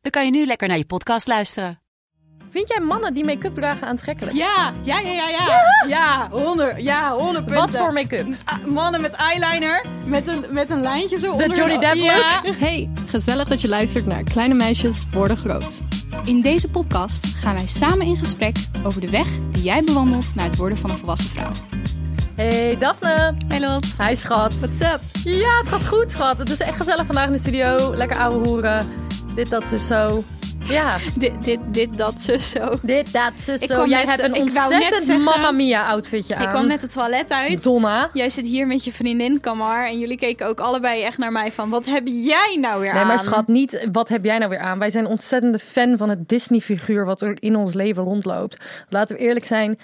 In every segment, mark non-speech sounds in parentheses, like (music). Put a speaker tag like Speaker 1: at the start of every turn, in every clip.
Speaker 1: dan kan je nu lekker naar je podcast luisteren.
Speaker 2: Vind jij mannen die make-up dragen aantrekkelijk?
Speaker 3: Ja, ja, ja, ja, ja. Ja, 100, ja, 100 punten.
Speaker 2: Wat voor make-up?
Speaker 3: Ah, Mannen met eyeliner, met een, met een lijntje zo
Speaker 2: De
Speaker 3: onder
Speaker 2: Johnny Depp
Speaker 3: Ja.
Speaker 2: look?
Speaker 4: Hey, gezellig dat je luistert naar Kleine Meisjes Worden Groot. In deze podcast gaan wij samen in gesprek over de weg die jij bewandelt naar het worden van een volwassen vrouw.
Speaker 2: Hey Daphne.
Speaker 4: Hey Lot.
Speaker 2: Hi schat. What's up? Ja, het gaat goed schat. Het is echt gezellig vandaag in de studio. Lekker ouwe hoeren. Dit, dat, ze zo. Ja,
Speaker 4: Dit, dit, dit, dat, ze zo.
Speaker 2: dit, dat, ze zo.
Speaker 4: kwam
Speaker 2: Jij
Speaker 4: net-
Speaker 2: hebt een
Speaker 4: ik wou net
Speaker 2: ontzettend
Speaker 4: zeggen-
Speaker 2: Mamma Mia outfitje aan.
Speaker 4: Ik kwam net het toilet uit.
Speaker 2: Donna.
Speaker 4: Jij zit hier met je vriendin Kamar en jullie keken ook allebei echt naar mij van wat heb jij nou weer
Speaker 2: Nee, maar
Speaker 4: aan?
Speaker 2: schat, niet wat heb jij nou weer aan? Wij zijn ontzettende fan van het Disney-figuur wat er in ons leven rondloopt. Laten we eerlijk zijn,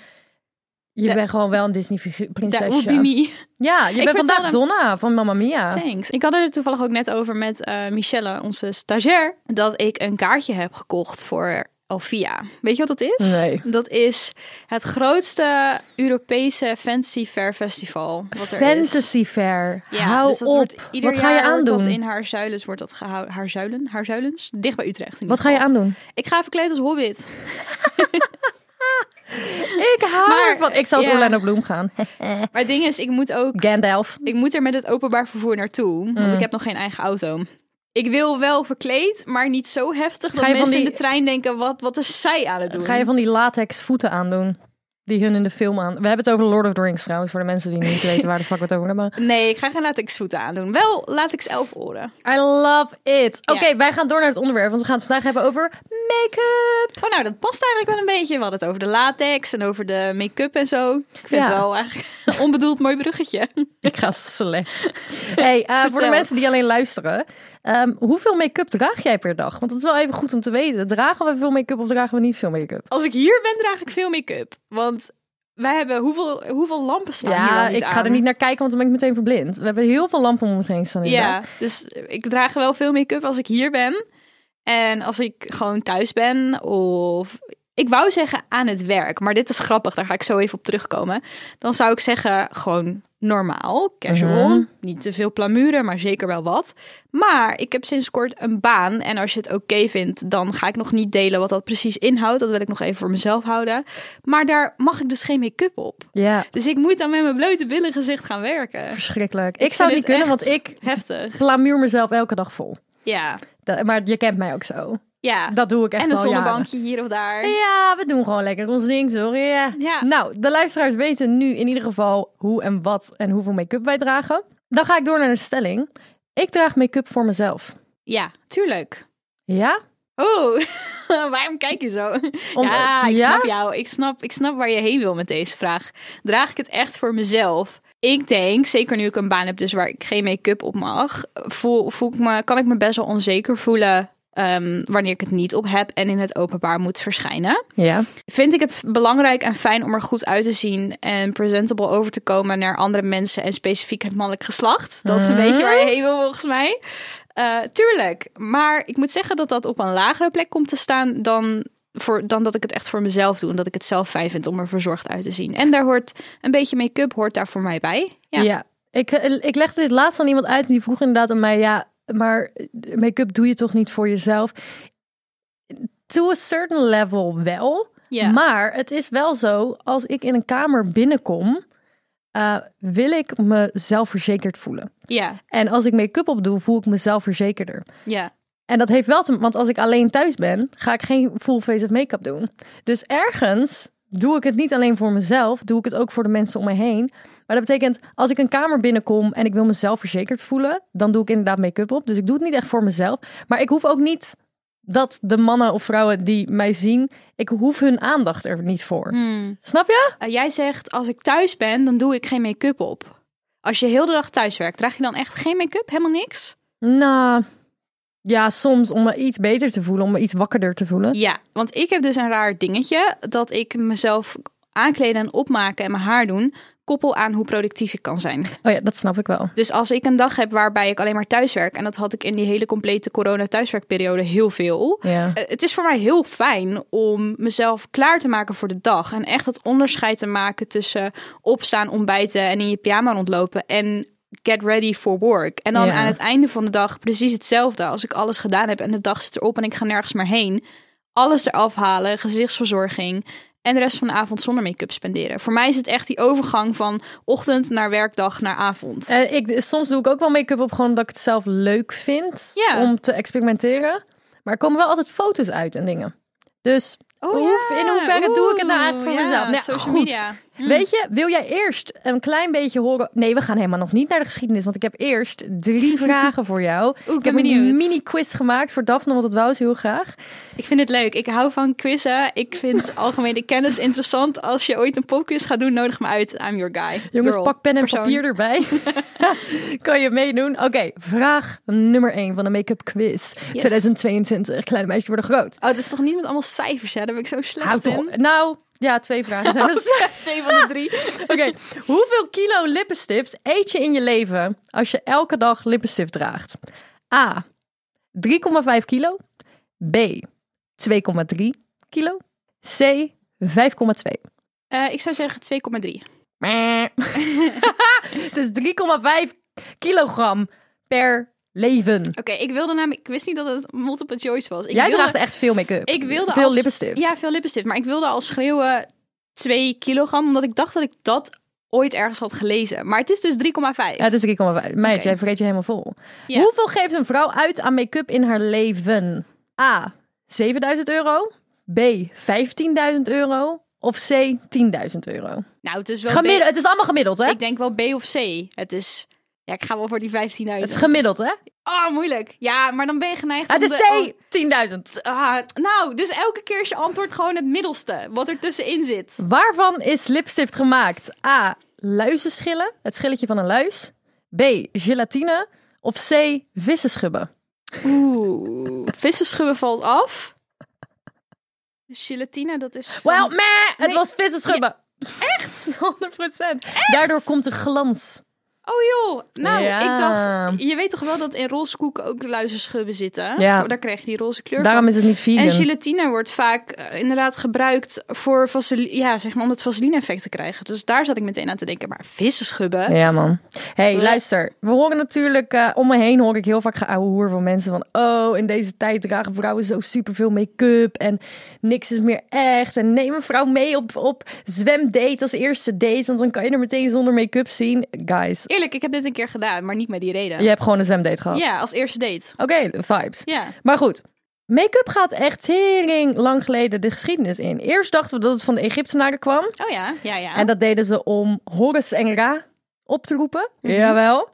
Speaker 2: je
Speaker 4: Ja.
Speaker 2: bent gewoon wel een Disney-figuur,
Speaker 4: That would
Speaker 2: prinsesje.
Speaker 4: be me.
Speaker 2: Ja, je
Speaker 4: Ik
Speaker 2: bent
Speaker 4: vind
Speaker 2: vandaag
Speaker 4: het wel
Speaker 2: Donna van Mamma Mia.
Speaker 4: Thanks. Ik had er toevallig ook net over met eh, Michelle, onze stagiair, dat ik een kaartje heb gekocht voor Alfia. Weet je wat dat is?
Speaker 2: Nee.
Speaker 4: Dat is het grootste Europese Fantasy Fair Festival. Wat er Is.
Speaker 2: Fantasy Fair.
Speaker 4: Ja,
Speaker 2: Hou
Speaker 4: dus dat
Speaker 2: op.
Speaker 4: Wordt, ieder
Speaker 2: Wat ga je
Speaker 4: jaar wordt dat
Speaker 2: aandoen?
Speaker 4: in Haarzuilens wordt dat gehouden. Haarzuilen? Haarzuilens? Dicht bij Utrecht. in
Speaker 2: Wat
Speaker 4: ieder
Speaker 2: ga je
Speaker 4: geval.
Speaker 2: aandoen?
Speaker 4: Ik ga verkleed als hobbit.
Speaker 2: Ik hou
Speaker 4: Maar,
Speaker 2: ervan. Ik zal als
Speaker 4: ja.
Speaker 2: Orlando Bloem gaan. (laughs)
Speaker 4: Maar het ding is, ik moet ook
Speaker 2: Gandalf.
Speaker 4: ik moet er met het openbaar vervoer naartoe,
Speaker 2: Mm.
Speaker 4: want ik heb nog geen eigen auto. Ik wil wel verkleed, maar niet zo heftig dat
Speaker 2: je van
Speaker 4: mensen in
Speaker 2: die-
Speaker 4: de trein denken, wat, wat is zij aan het doen?
Speaker 2: Ga je van die latex voeten aandoen? Die hun in de film aan... We hebben het over Lord of the Rings trouwens, voor de mensen die niet weten waar de fuck we het over hebben.
Speaker 4: Nee, ik ga geen latex voeten aandoen. Wel latex elf oren.
Speaker 2: I love it. Oké,
Speaker 4: Ja.
Speaker 2: wij gaan door naar het onderwerp, want we gaan het vandaag hebben over make-up.
Speaker 4: Oh, nou, dat past eigenlijk wel een beetje. We hadden het over de latex en over de make-up en zo. Ik vind
Speaker 2: Ja.
Speaker 4: het wel eigenlijk (laughs) een onbedoeld mooi bruggetje.
Speaker 2: Ik ga slecht. (laughs) Hey, eh, voor de
Speaker 4: Vertel.
Speaker 2: mensen die alleen luisteren, ehm, hoeveel make-up draag jij per dag? Want het is wel even goed om te weten. Dragen we veel make-up of dragen we niet veel make-up?
Speaker 4: Als ik hier ben, draag ik veel make-up. Want wij hebben hoeveel, hoeveel lampen staan hier wel
Speaker 2: Ja,
Speaker 4: niet
Speaker 2: ik ga
Speaker 4: aan?
Speaker 2: er niet naar kijken, want dan ben ik meteen verblind. We hebben heel veel lampen om ons heen staan.
Speaker 4: Ja, dus ik draag wel veel make-up als ik hier ben. En als ik gewoon thuis ben of... Ik wou zeggen aan het werk, maar dit is grappig. Daar ga ik zo even op terugkomen. Dan zou ik zeggen gewoon normaal, casual.
Speaker 2: Mhm.
Speaker 4: Niet te veel plamuren, maar zeker wel wat. Maar ik heb sinds kort een baan. En als je het oké vindt, dan ga ik nog niet delen wat dat precies inhoudt. Dat wil ik nog even voor mezelf houden. Maar daar mag ik dus geen make-up op.
Speaker 2: ja.
Speaker 4: Dus ik moet dan met mijn blote billen gezicht gaan werken.
Speaker 2: Verschrikkelijk. Ik, zou het
Speaker 4: vind
Speaker 2: niet kunnen,
Speaker 4: het
Speaker 2: want
Speaker 4: echt
Speaker 2: ik
Speaker 4: Heftig.
Speaker 2: glamuur mezelf elke dag vol.
Speaker 4: Ja.
Speaker 2: Da- maar je kent mij ook zo.
Speaker 4: Ja.
Speaker 2: Dat doe ik echt
Speaker 4: en een
Speaker 2: al jaren.
Speaker 4: zonnebankje hier of daar.
Speaker 2: Ja, we doen gewoon lekker ons ding, sorry.
Speaker 4: Ja.
Speaker 2: Nou, de luisteraars weten nu in ieder geval hoe en wat en hoeveel make-up wij dragen. Dan ga ik door naar de stelling. Ik draag make-up voor mezelf.
Speaker 4: Ja, tuurlijk.
Speaker 2: Ja?
Speaker 4: Oh, (laughs) waarom kijk je zo?
Speaker 2: Om-
Speaker 4: ja, ik
Speaker 2: ja?
Speaker 4: snap jou. Ik snap, ik snap waar je heen wil met deze vraag. Draag ik het echt voor mezelf? Ik denk, zeker nu ik een baan heb dus waar ik geen make-up op mag, voel, voel ik me, kan ik me best wel onzeker voelen ehm, wanneer ik het niet op heb en in het openbaar moet verschijnen.
Speaker 2: Ja.
Speaker 4: vind ik het belangrijk en fijn om er goed uit te zien en presentable over te komen naar andere mensen en specifiek het mannelijk geslacht. Dat is een beetje waar je heen wil volgens mij. Eh, tuurlijk, maar ik moet zeggen dat dat op een lagere plek komt te staan dan, voor, dan dat ik het echt voor mezelf doe. En dat ik het zelf fijn vind om er verzorgd uit te zien. En daar hoort een beetje make-up hoort daar voor mij bij. Ja,
Speaker 2: Ja. Ik, eh, ik legde dit laatst aan iemand uit en die vroeg inderdaad aan mij, ja, maar make-up doe je toch niet voor jezelf? To a certain level wel.
Speaker 4: ja.
Speaker 2: Maar het is wel zo, als ik in een kamer binnenkom, eh, wil ik me zelfverzekerd voelen.
Speaker 4: ja,
Speaker 2: En als ik make-up op doe, voel ik me zelfverzekerder.
Speaker 4: ja.
Speaker 2: En dat heeft wel te want als ik alleen thuis ben, ga ik geen full face of make-up doen. Dus ergens doe ik het niet alleen voor mezelf, doe ik het ook voor de mensen om me heen. Maar dat betekent, als ik een kamer binnenkom en ik wil mezelf verzekerd voelen, dan doe ik inderdaad make-up op. Dus ik doe het niet echt voor mezelf. Maar ik hoef ook niet dat de mannen of vrouwen die mij zien, ik hoef hun aandacht er niet voor. Snap je?
Speaker 4: Eh, jij zegt, als ik thuis ben, dan doe ik geen make-up op. Als je heel de dag thuis werkt, draag je dan echt geen make-up? Helemaal niks?
Speaker 2: Nou, Ja, soms om me iets beter te voelen, om me iets wakkerder te voelen.
Speaker 4: Ja, want ik heb dus een raar dingetje dat ik mezelf aankleden en opmaken en mijn haar doen koppel aan hoe productief ik kan zijn.
Speaker 2: Oh ja, dat snap ik wel.
Speaker 4: Dus als ik een dag heb waarbij ik alleen maar thuiswerk en dat had ik in die hele complete corona thuiswerkperiode heel veel.
Speaker 2: Ja.
Speaker 4: Eh, Het is voor mij heel fijn om mezelf klaar te maken voor de dag. En echt het onderscheid te maken tussen opstaan, ontbijten en in je pyjama rondlopen. En get ready for work. En dan
Speaker 2: Ja.
Speaker 4: aan het einde van de dag precies hetzelfde. Als ik alles gedaan heb en de dag zit erop en ik ga nergens meer heen. Alles eraf halen, gezichtsverzorging. En de rest van de avond zonder make-up spenderen. Voor mij is het echt die overgang van ochtend naar werkdag naar avond.
Speaker 2: Eh, ik, soms doe ik ook wel make-up op gewoon omdat ik het zelf leuk vind
Speaker 4: Ja.
Speaker 2: om te experimenteren. Maar er komen wel altijd foto's uit en dingen. Dus
Speaker 4: Oh
Speaker 2: hoe-
Speaker 4: ja,
Speaker 2: in hoeverre doe ik het nou
Speaker 4: oeh,
Speaker 2: eigenlijk voor
Speaker 4: ja,
Speaker 2: mezelf? Nou,
Speaker 4: social
Speaker 2: goed.
Speaker 4: media. Mm.
Speaker 2: Weet je, wil jij eerst een klein beetje horen? Nee, we gaan helemaal nog niet naar de geschiedenis, want ik heb eerst
Speaker 4: (laughs)
Speaker 2: drie vragen voor jou.
Speaker 4: ben
Speaker 2: ik heb
Speaker 4: benieuwd.
Speaker 2: een mini-quiz gemaakt voor Daphne, want dat wou ze heel graag.
Speaker 4: Ik vind het leuk. Ik hou van quizzen. Ik
Speaker 2: (laughs)
Speaker 4: vind algemene kennis interessant. Als je ooit een popquiz gaat doen, nodig me uit. I'm your guy.
Speaker 2: Jongens,
Speaker 4: Girl.
Speaker 2: pak pen en
Speaker 4: Persoon.
Speaker 2: papier erbij.
Speaker 4: (laughs)
Speaker 2: kan je meedoen? Oké, vraag nummer 1 van de make-up quiz 2022. Kleine meisjes worden groot.
Speaker 4: Oh, het is toch niet met allemaal cijfers, hè? Daar ben ik zo slecht
Speaker 2: Houd toch.
Speaker 4: in.
Speaker 2: op. Nou, ja, twee vragen zijn dat.
Speaker 4: (laughs) Twee van de drie.
Speaker 2: (laughs) Oké, hoeveel kilo lippenstift eet je in je leven als je elke dag lippenstift draagt? A. 3,5 kilo. B. 2,3 kilo. C. 5,2.
Speaker 4: Eh, ik zou zeggen 2,3.
Speaker 2: Meh. (laughs) Het is 3,5 kilogram per leven.
Speaker 4: Oké, ik wilde namelijk... Ik wist niet dat het multiple choice was. Ik
Speaker 2: Jij
Speaker 4: wilde,
Speaker 2: draagt echt veel make-up.
Speaker 4: Ik wilde
Speaker 2: veel
Speaker 4: als-
Speaker 2: lippenstift.
Speaker 4: Ja, veel lippenstift. Maar ik wilde al schreeuwen 2 kilogram, omdat ik dacht dat ik dat ooit ergens had gelezen. Maar het is dus 3,5.
Speaker 2: Ja, het is 3,5. Meid,
Speaker 4: Oké.
Speaker 2: jij vreet je helemaal vol.
Speaker 4: Ja.
Speaker 2: Hoeveel geeft een vrouw uit aan make-up in haar leven? A. 7000 euro. B. 15.000 euro. Of C. 10.000 euro.
Speaker 4: Nou, het is wel...
Speaker 2: Gemiddeld, het is allemaal gemiddeld, hè?
Speaker 4: B- ik denk wel B of C. Het is... Ja, ik ga wel voor die 15.000.
Speaker 2: Het is gemiddeld, hè?
Speaker 4: Oh, moeilijk. Ja, maar dan ben je geneigd
Speaker 2: Het
Speaker 4: om
Speaker 2: is
Speaker 4: de-
Speaker 2: C. 10.000.
Speaker 4: om- Ah, nou, dus elke keer is je antwoord gewoon het middelste, wat er tussenin zit.
Speaker 2: Waarvan is lipstift gemaakt? A. Luizenschillen. Het schilletje van een luis. B. Gelatine. Of C. Vissen schubben.
Speaker 4: (laughs) Oeh, vissen schubben valt af. Gelatine, dat is... van-
Speaker 2: Wel, mm. meh! Het
Speaker 4: Nee.
Speaker 2: was vissen schubben. Echt? 100%. Daardoor komt de glans.
Speaker 4: Oh joh, nou,
Speaker 2: Ja.
Speaker 4: ik dacht... Je weet toch wel dat in roze koeken ook luizenschubben zitten?
Speaker 2: Ja.
Speaker 4: Voor- Daar krijg je die roze kleur
Speaker 2: Daarom
Speaker 4: van.
Speaker 2: is het niet vegan.
Speaker 4: En gelatine wordt vaak eh, inderdaad gebruikt voor vaseline, ja, zeg maar, om het vaseline-effect te krijgen. Dus daar zat ik meteen aan te denken. Maar vissen schubben?
Speaker 2: Ja, man. hey,
Speaker 4: Blech.
Speaker 2: luister. We horen natuurlijk, eh, om me heen hoor ik heel vaak geouwehoer van mensen van... Oh, in deze tijd dragen vrouwen zo superveel make-up en niks is meer echt. En neem een vrouw mee op, op zwemdate als eerste date, want dan kan je er meteen zonder make-up zien. Guys,
Speaker 4: Eerlijk, ik heb dit een keer gedaan, maar niet met die reden.
Speaker 2: je hebt gewoon een zwemdate gehad.
Speaker 4: Ja, als eerste date.
Speaker 2: Oké, vibes.
Speaker 4: Ja.
Speaker 2: Maar goed, make-up gaat echt tering lang geleden de geschiedenis in. Eerst dachten we dat het van de Egyptenaren kwam.
Speaker 4: Oh ja, ja, ja.
Speaker 2: En dat deden ze om Horus en Ra op te roepen.
Speaker 4: Mhm.
Speaker 2: Jawel.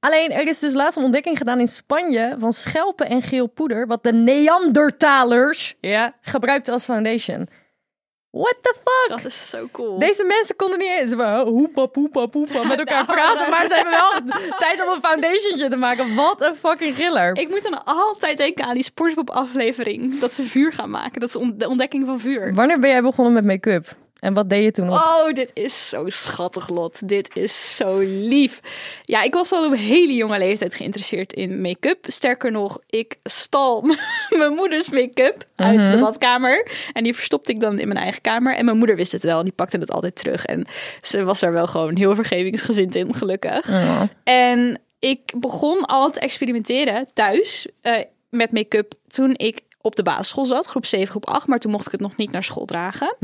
Speaker 2: Alleen er is dus laatst een ontdekking gedaan in Spanje van schelpen en geel poeder, wat de Neandertalers ja, gebruikten als foundation. What the fuck?
Speaker 4: Dat is zo cool.
Speaker 2: Deze mensen konden niet eens ze waren hoepa, poepa, poepa
Speaker 4: (laughs)
Speaker 2: met elkaar
Speaker 4: Nou,
Speaker 2: praten, maar ze hebben wel (laughs) tijd om een foundationje te maken. Wat een fucking griller.
Speaker 4: Ik moet dan altijd denken aan die Spongebob aflevering. Dat ze vuur gaan maken. Dat is on- de ontdekking van vuur.
Speaker 2: Wanneer ben jij begonnen met make-up? En wat deed je toen op?
Speaker 4: Oh, dit is zo schattig, Lot. Dit is zo lief. Ja, ik was al op hele jonge leeftijd geïnteresseerd in make-up. Sterker nog, ik stal (laughs) m- mijn moeders make-up uit
Speaker 2: Mhm.
Speaker 4: de badkamer. En die verstopte ik dan in mijn eigen kamer. En mijn moeder wist het wel. En die pakte het altijd terug. En ze was daar wel gewoon heel vergevingsgezind in, gelukkig. En ik begon al te experimenteren thuis eh, met make-up toen ik op de basisschool zat, groep 7, groep 8, maar toen mocht ik het nog niet naar school dragen.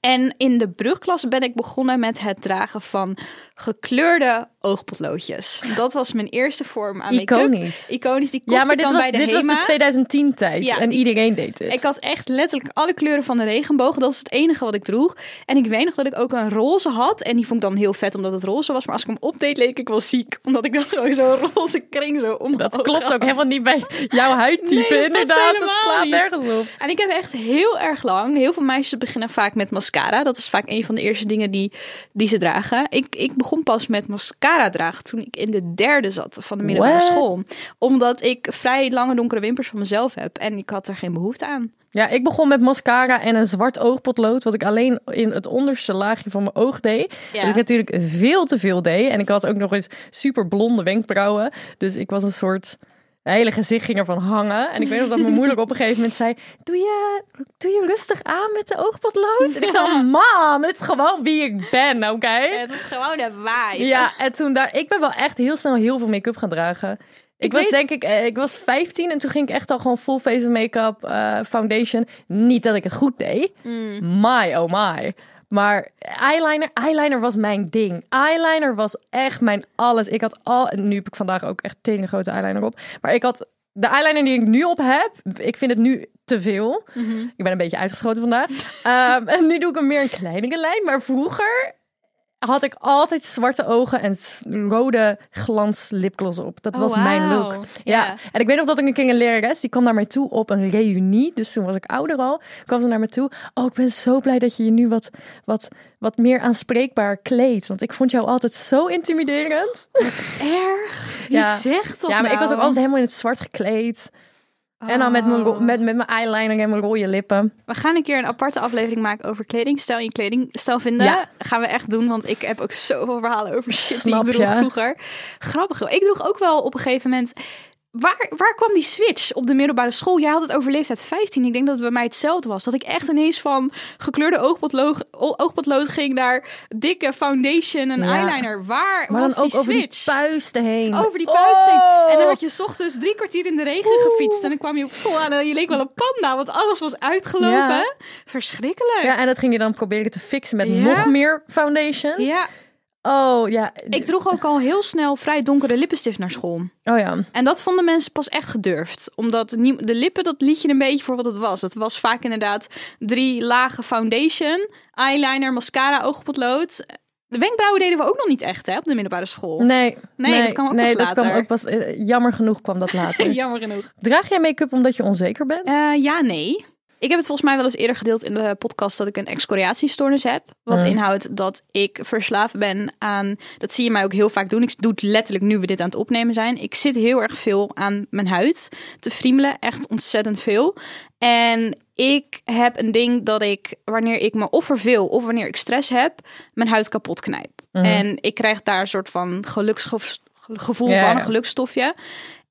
Speaker 4: En in de brugklas ben ik begonnen met het dragen van gekleurde oogpotloodjes. Dat was mijn eerste vorm aan make-up.
Speaker 2: Iconisch.
Speaker 4: Iconisch, die kocht
Speaker 2: Ja, maar
Speaker 4: ik
Speaker 2: dit,
Speaker 4: dan
Speaker 2: was,
Speaker 4: bij de
Speaker 2: dit was
Speaker 4: HEMA.
Speaker 2: de 2010-tijd
Speaker 4: Ja.
Speaker 2: en iedereen deed dit.
Speaker 4: Ik had echt letterlijk alle kleuren van de regenboog. Dat is het enige wat ik droeg. En ik weet nog dat ik ook een roze had. En die vond ik dan heel vet omdat het roze was. Maar als ik hem opdeed, leek ik wel ziek. Omdat ik dan gewoon zo'n roze kring zo om mijn
Speaker 2: Dat
Speaker 4: ogen
Speaker 2: klopt ook
Speaker 4: had.
Speaker 2: helemaal niet bij jouw huidtype,
Speaker 4: Oh, Nee, dat past
Speaker 2: inderdaad. Dat
Speaker 4: helemaal
Speaker 2: slaat
Speaker 4: niet.
Speaker 2: nergens op.
Speaker 4: En ik heb echt heel erg lang. Heel veel meisjes beginnen vaak met mascara. Dat is vaak een van de eerste dingen die, die ze dragen. Ik, ik begon pas met mascara dragen toen ik in de derde zat van de middelbare
Speaker 2: What?
Speaker 4: school. Omdat ik vrij lange donkere wimpers van mezelf heb. En ik had er geen behoefte aan.
Speaker 2: Ja, ik begon met mascara en een zwart oogpotlood. Wat ik alleen in het onderste laagje van mijn oog deed.
Speaker 4: Ja.
Speaker 2: Dat ik natuurlijk veel te veel deed. En ik had ook nog eens super blonde wenkbrauwen. Dus ik was een soort. Mijn hele gezicht ging ervan hangen. En ik weet nog dat mijn moeder op een gegeven moment zei... Doe je, doe je rustig aan met de oogpotlood? En ik zei, mam, het is gewoon wie ik ben, oké?
Speaker 4: is gewoon een waai.
Speaker 2: Ja, en toen daar... Ik ben wel echt heel snel heel veel make-up gaan dragen. Ik, was
Speaker 4: weet-
Speaker 2: denk ik... eh, Ik was 15 en toen ging ik echt al gewoon full face make-up, eh, foundation. Niet dat ik het goed deed. My, oh my. Maar eyeliner, eyeliner was mijn ding. Eyeliner was echt mijn alles. Ik had al... en Nu heb ik vandaag ook echt tegen grote eyeliner op. Maar ik had... De eyeliner die ik nu op heb, ik vind het nu te veel.
Speaker 4: Mhm.
Speaker 2: Ik ben een beetje uitgeschoten vandaag. (laughs) Ehm, en nu doe ik hem meer een kleinere lijn. Maar vroeger had ik altijd zwarte ogen en s- rode glans lipgloss op. Dat
Speaker 4: Oh,
Speaker 2: was mijn
Speaker 4: wauw.
Speaker 2: look. Ja.
Speaker 4: Ja.
Speaker 2: En ik weet nog dat ik een keer een lerares, die kwam naar mij toe op een reunie. Dus toen was ik ouder al. Kwam ze naar me toe. Oh, ik ben zo blij dat je je nu wat, wat, wat meer aanspreekbaar kleedt. Want ik vond jou altijd zo intimiderend.
Speaker 4: Erg. Wie
Speaker 2: Ja.
Speaker 4: zegt dat
Speaker 2: ja, maar ik was
Speaker 4: nou? Oh.
Speaker 2: ook altijd helemaal in het zwart gekleed. En dan met mijn, ro- met, met mijn eyeliner en mijn rode lippen.
Speaker 4: We gaan een keer een aparte aflevering maken over kledingstijl. Je kledingstijl vinden.
Speaker 2: Ja.
Speaker 4: Gaan we echt doen, want ik heb ook zoveel verhalen over shit die ik
Speaker 2: Snap
Speaker 4: droeg
Speaker 2: je.
Speaker 4: vroeger. Grappig. hoor. Ik droeg ook wel op een gegeven moment... Waar, waar kwam die switch op de middelbare school? Jij had het over leeftijd 15. Ik denk dat het bij mij hetzelfde was. Dat ik echt ineens van gekleurde oogpotloog- o- oogpotlood ging naar dikke foundation en
Speaker 2: Ja.
Speaker 4: eyeliner. Waar
Speaker 2: Maar
Speaker 4: was
Speaker 2: dan ook
Speaker 4: die
Speaker 2: over die
Speaker 4: switch?
Speaker 2: puisten heen.
Speaker 4: Over die puist heen.
Speaker 2: Oh!
Speaker 4: En dan had je 's ochtends drie kwartier in de regen gefietst. En dan kwam je op school aan en je leek wel een panda, want alles was uitgelopen.
Speaker 2: Ja.
Speaker 4: Verschrikkelijk.
Speaker 2: Oh. Ja, en dat ging je dan proberen te fixen met
Speaker 4: Ja.
Speaker 2: nog meer foundation.
Speaker 4: Ja,
Speaker 2: Oh ja.
Speaker 4: ik droeg ook al heel snel vrij donkere lippenstift naar school.
Speaker 2: Oh ja.
Speaker 4: En dat vonden mensen pas echt gedurfd. Omdat nie- de lippen, dat liet je een beetje voor wat het was. Dat was vaak inderdaad drie lagen foundation, eyeliner, mascara, oogpotlood. De wenkbrauwen deden we ook nog niet echt hè, op de middelbare school.
Speaker 2: Nee.
Speaker 4: Nee, dat kwam ook
Speaker 2: nee,
Speaker 4: pas
Speaker 2: dat kwam
Speaker 4: later.
Speaker 2: ook pas eh, jammer genoeg kwam
Speaker 4: (laughs)
Speaker 2: dat later.
Speaker 4: Jammer genoeg.
Speaker 2: Draag jij make-up omdat je onzeker bent?
Speaker 4: Eh, ja, nee. Ik heb het volgens mij wel eens eerder gedeeld in de podcast dat ik een excoriatiestoornis heb. Wat inhoudt dat ik verslaafd ben aan. Dat zie je mij ook heel vaak doen. Ik doe het letterlijk nu we dit aan het opnemen zijn. Ik zit heel erg veel aan mijn huid te friemelen. Echt ontzettend veel. En ik heb een ding dat ik, wanneer ik me of verveel of wanneer ik stress heb, mijn huid kapot knijp.
Speaker 2: Mhm.
Speaker 4: En ik krijg daar een soort van geluksgevoel
Speaker 2: Ja,
Speaker 4: van,
Speaker 2: ja.
Speaker 4: een geluksstofje.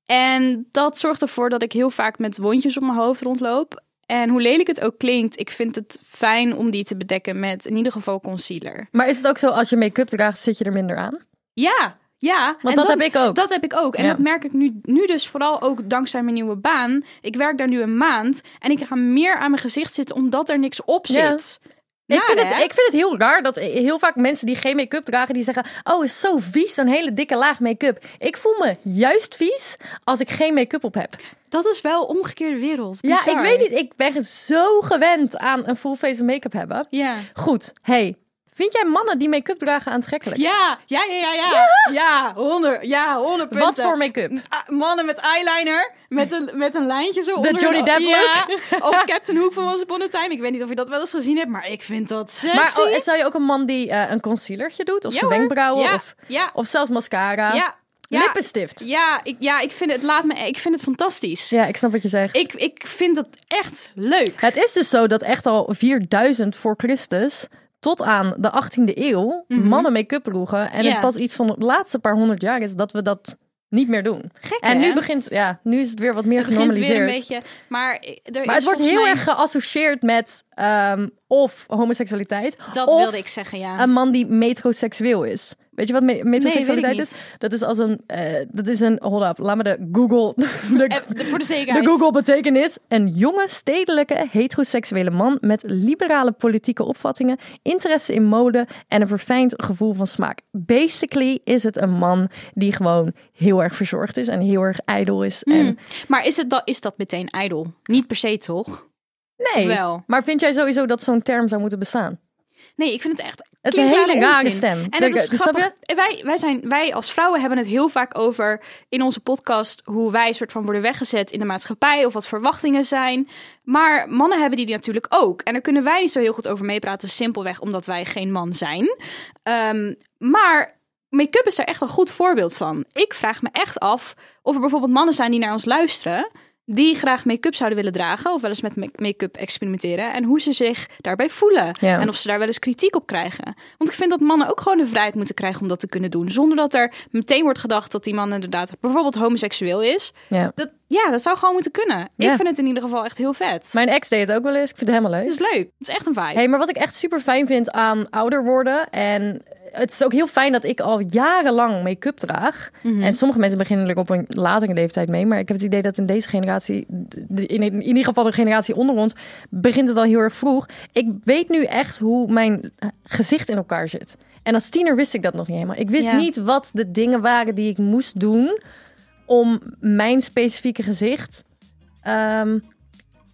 Speaker 4: En dat zorgt ervoor dat ik heel vaak met wondjes op mijn hoofd rondloop. En hoe lelijk het ook klinkt, ik vind het fijn om die te bedekken met in ieder geval concealer.
Speaker 2: Maar is het ook zo als je make-up draagt, zit je er minder aan?
Speaker 4: Ja, ja.
Speaker 2: dat
Speaker 4: En dan-
Speaker 2: heb ik ook.
Speaker 4: Dat heb ik ook. En
Speaker 2: Ja.
Speaker 4: dat merk ik nu, nu dus vooral ook dankzij mijn nieuwe baan. Ik werk daar nu een maand en ik ga meer aan mijn gezicht zitten omdat er niks op
Speaker 2: Ja.
Speaker 4: zit.
Speaker 2: Ik vind,
Speaker 4: Naar,
Speaker 2: het,
Speaker 4: hè?
Speaker 2: ik vind het heel raar dat heel vaak mensen die geen make-up dragen, die zeggen: Oh, is zo vies, zo'n hele dikke laag make-up. Ik voel me juist vies als ik geen make-up op heb.
Speaker 4: Dat is wel omgekeerde wereld.
Speaker 2: Ja, ik
Speaker 4: Bizar.
Speaker 2: weet niet. Ik ben zo gewend aan een full face make-up hebben.
Speaker 4: Ja.
Speaker 2: Goed, hey, vind jij mannen die make-up dragen aantrekkelijk?
Speaker 3: Ja, ja, ja, ja, ja. Ja, 100, ja, 100 punten.
Speaker 2: Wat
Speaker 4: eh,
Speaker 2: voor make-up?
Speaker 3: Ah, Mannen met eyeliner, met een, met een lijntje zo onder
Speaker 2: Johnny
Speaker 3: hun-
Speaker 2: Depp
Speaker 3: ja,
Speaker 4: (laughs)
Speaker 3: Of Captain Hook van Once Upon a Time. Ik weet niet of je dat wel eens gezien hebt, maar ik vind dat sexy.
Speaker 2: Maar oh, en zou je ook een man die eh, een concealertje doet? Of
Speaker 4: Ja,
Speaker 2: zijn
Speaker 4: hoor.
Speaker 2: wenkbrauwen?
Speaker 4: Ja,
Speaker 2: Of,
Speaker 4: ja.
Speaker 2: of zelfs mascara?
Speaker 4: Ja. Ja.
Speaker 2: Lippenstift?
Speaker 4: Ja, ik, ja, ik vind het, laat me, ik vind het fantastisch.
Speaker 2: Ja, ik snap wat je zegt.
Speaker 4: Ik, ik vind dat echt leuk.
Speaker 2: Het is dus zo dat echt al 4000 voor Christus tot aan de 18e eeuw mannen make-up droegen. En
Speaker 4: Mhm. Ja.
Speaker 2: het pas iets van de laatste paar honderd jaar is dat we dat niet meer doen.
Speaker 4: Gek,
Speaker 2: en
Speaker 4: hè?
Speaker 2: nu begint, ja, nu is het weer wat meer
Speaker 4: Het begint weer een
Speaker 2: genormaliseerd.
Speaker 4: beetje. Maar, eh, er
Speaker 2: Maar
Speaker 4: is
Speaker 2: het wordt
Speaker 4: volgens
Speaker 2: heel
Speaker 4: mij-
Speaker 2: erg geassocieerd met ehm, of homoseksualiteit.
Speaker 4: Dat
Speaker 2: of
Speaker 4: wilde ik zeggen, ja.
Speaker 2: Een man die metroseksueel is. Weet je wat me- metroseksualiteit
Speaker 4: weet ik
Speaker 2: is? Dat is als een. eh, dat is een. Hold up, laat me de Google. (laughs) De,
Speaker 4: Eh, de- voor de zekerheid.
Speaker 2: de Google betekenis. Een jonge, stedelijke, heteroseksuele man met liberale politieke opvattingen, interesse in mode en een verfijnd gevoel van smaak. Basically is het een man die gewoon heel erg verzorgd is en heel erg ijdel is. En,
Speaker 4: Maar is, het, da- is dat meteen ijdel? Niet per se, toch?
Speaker 2: nee,
Speaker 4: Wel.
Speaker 2: maar vind jij sowieso dat zo'n term zou moeten bestaan?
Speaker 4: Nee, ik vind het echt
Speaker 2: Het is een
Speaker 4: klinkklare
Speaker 2: hele rare
Speaker 4: onzin.
Speaker 2: stem.
Speaker 4: En dat
Speaker 2: Kijk,
Speaker 4: is
Speaker 2: snap
Speaker 4: grappig. En Wij, wij, zijn, wij als vrouwen hebben het heel vaak over in onze podcast hoe wij soort van worden weggezet in de maatschappij of wat verwachtingen zijn. Maar mannen hebben die natuurlijk ook. En daar kunnen wij niet zo heel goed over meepraten, simpelweg omdat wij geen man zijn. Ehm, maar make-up is daar echt een goed voorbeeld van. Ik vraag me echt af of er bijvoorbeeld mannen zijn die naar ons luisteren. Die graag make-up zouden willen dragen of wel eens met make- make-up experimenteren. En hoe ze zich daarbij voelen.
Speaker 2: Ja.
Speaker 4: En of ze daar wel eens kritiek op krijgen. Want ik vind dat mannen ook gewoon de vrijheid moeten krijgen om dat te kunnen doen. Zonder dat er meteen wordt gedacht dat die man inderdaad bijvoorbeeld homoseksueel is.
Speaker 2: Ja.
Speaker 4: Dat, ja, dat zou gewoon moeten kunnen.
Speaker 2: Ja.
Speaker 4: Ik vind het in ieder geval echt heel vet.
Speaker 2: Mijn ex deed het ook wel eens. Ik vind het helemaal leuk.
Speaker 4: Het is leuk. Het is echt een vibe.
Speaker 2: Hey, maar wat ik echt super fijn vind aan ouder worden. En het is ook heel fijn dat ik al jarenlang make-up draag. En sommige mensen beginnen er op een latere leeftijd mee. Maar ik heb het idee dat in deze generatie, in, in, in ieder geval de generatie onder ons, begint het al heel erg vroeg. Ik weet nu echt hoe mijn eh, gezicht in elkaar zit. En als tiener wist ik dat nog niet helemaal. Ik wist
Speaker 4: Ja.
Speaker 2: niet wat de dingen waren die ik moest doen om mijn specifieke gezicht ehm,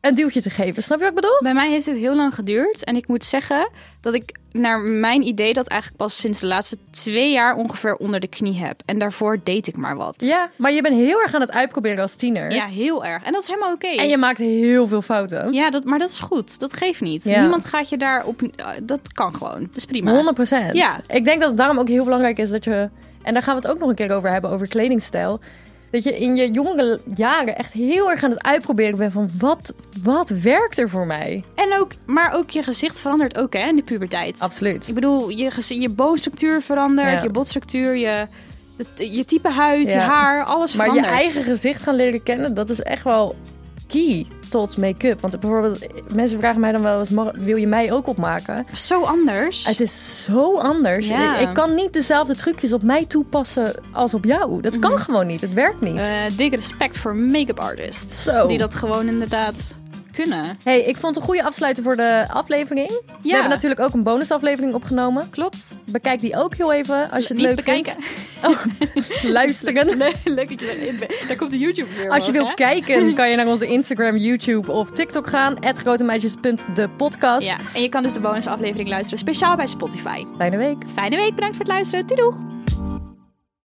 Speaker 2: een duwtje te geven. Snap je wat ik bedoel?
Speaker 4: Bij mij heeft dit heel lang geduurd. En ik moet zeggen dat ik naar mijn idee dat eigenlijk pas sinds de laatste twee jaar ongeveer onder de knie heb. En daarvoor deed ik maar wat.
Speaker 2: Ja, maar je bent heel erg aan het uitproberen als tiener.
Speaker 4: Ja, heel erg. En dat is helemaal oké.
Speaker 2: En je maakt heel veel fouten.
Speaker 4: Ja, dat, maar dat is goed. Dat geeft niet.
Speaker 2: Ja.
Speaker 4: Niemand gaat je daarop... Dat kan gewoon. Dat is prima.
Speaker 2: 100 procent.
Speaker 4: Ja.
Speaker 2: Ik denk dat het daarom ook heel belangrijk is dat je... En daar gaan we het ook nog een keer over hebben, over kledingstijl. Dat je in je jongere jaren echt heel erg aan het uitproberen bent van... Wat, wat werkt er voor mij?
Speaker 4: En ook, maar ook je gezicht verandert ook hè, in de puberteit.
Speaker 2: Absoluut.
Speaker 4: Ik bedoel, je, gez- je boonstructuur verandert,
Speaker 2: Ja.
Speaker 4: je botstructuur, je, de- je type huid, je
Speaker 2: Ja.
Speaker 4: haar, alles
Speaker 2: Maar je
Speaker 4: verandert.
Speaker 2: eigen gezicht gaan leren kennen, dat is echt wel key tot make-up. Want bijvoorbeeld, mensen vragen mij dan wel eens... "Mar- Wil je mij ook opmaken?
Speaker 4: Zo anders.
Speaker 2: Het is zo anders.
Speaker 4: Ja.
Speaker 2: Ik, ik kan niet dezelfde trucjes op mij toepassen als op jou. Dat kan gewoon niet. Het werkt niet.
Speaker 4: Mhm. Eh, dik respect voor make-up artists.
Speaker 2: Zo.
Speaker 4: Die dat gewoon inderdaad kunnen.
Speaker 2: Hey, ik vond het een goede afsluiter voor de aflevering. We hebben natuurlijk ook een bonusaflevering opgenomen.
Speaker 4: Klopt.
Speaker 2: Bekijk die ook heel even als je het
Speaker 4: Niet
Speaker 2: leuk
Speaker 4: bekijken. (laughs)
Speaker 2: vindt. (laughs) Luisteren.
Speaker 4: Leuk dat je erin bent. Daar komt de YouTube weer
Speaker 2: Als je
Speaker 4: omhoog,
Speaker 2: wilt
Speaker 4: hè? (laughs)
Speaker 2: kijken, kan je naar onze Instagram, YouTube of TikTok gaan. @grotemeisjes.depodcast.
Speaker 4: Ja, en je kan dus de bonusaflevering luisteren speciaal bij Spotify.
Speaker 2: Fijne week.
Speaker 4: Fijne week, bedankt voor het luisteren. Doei doeg!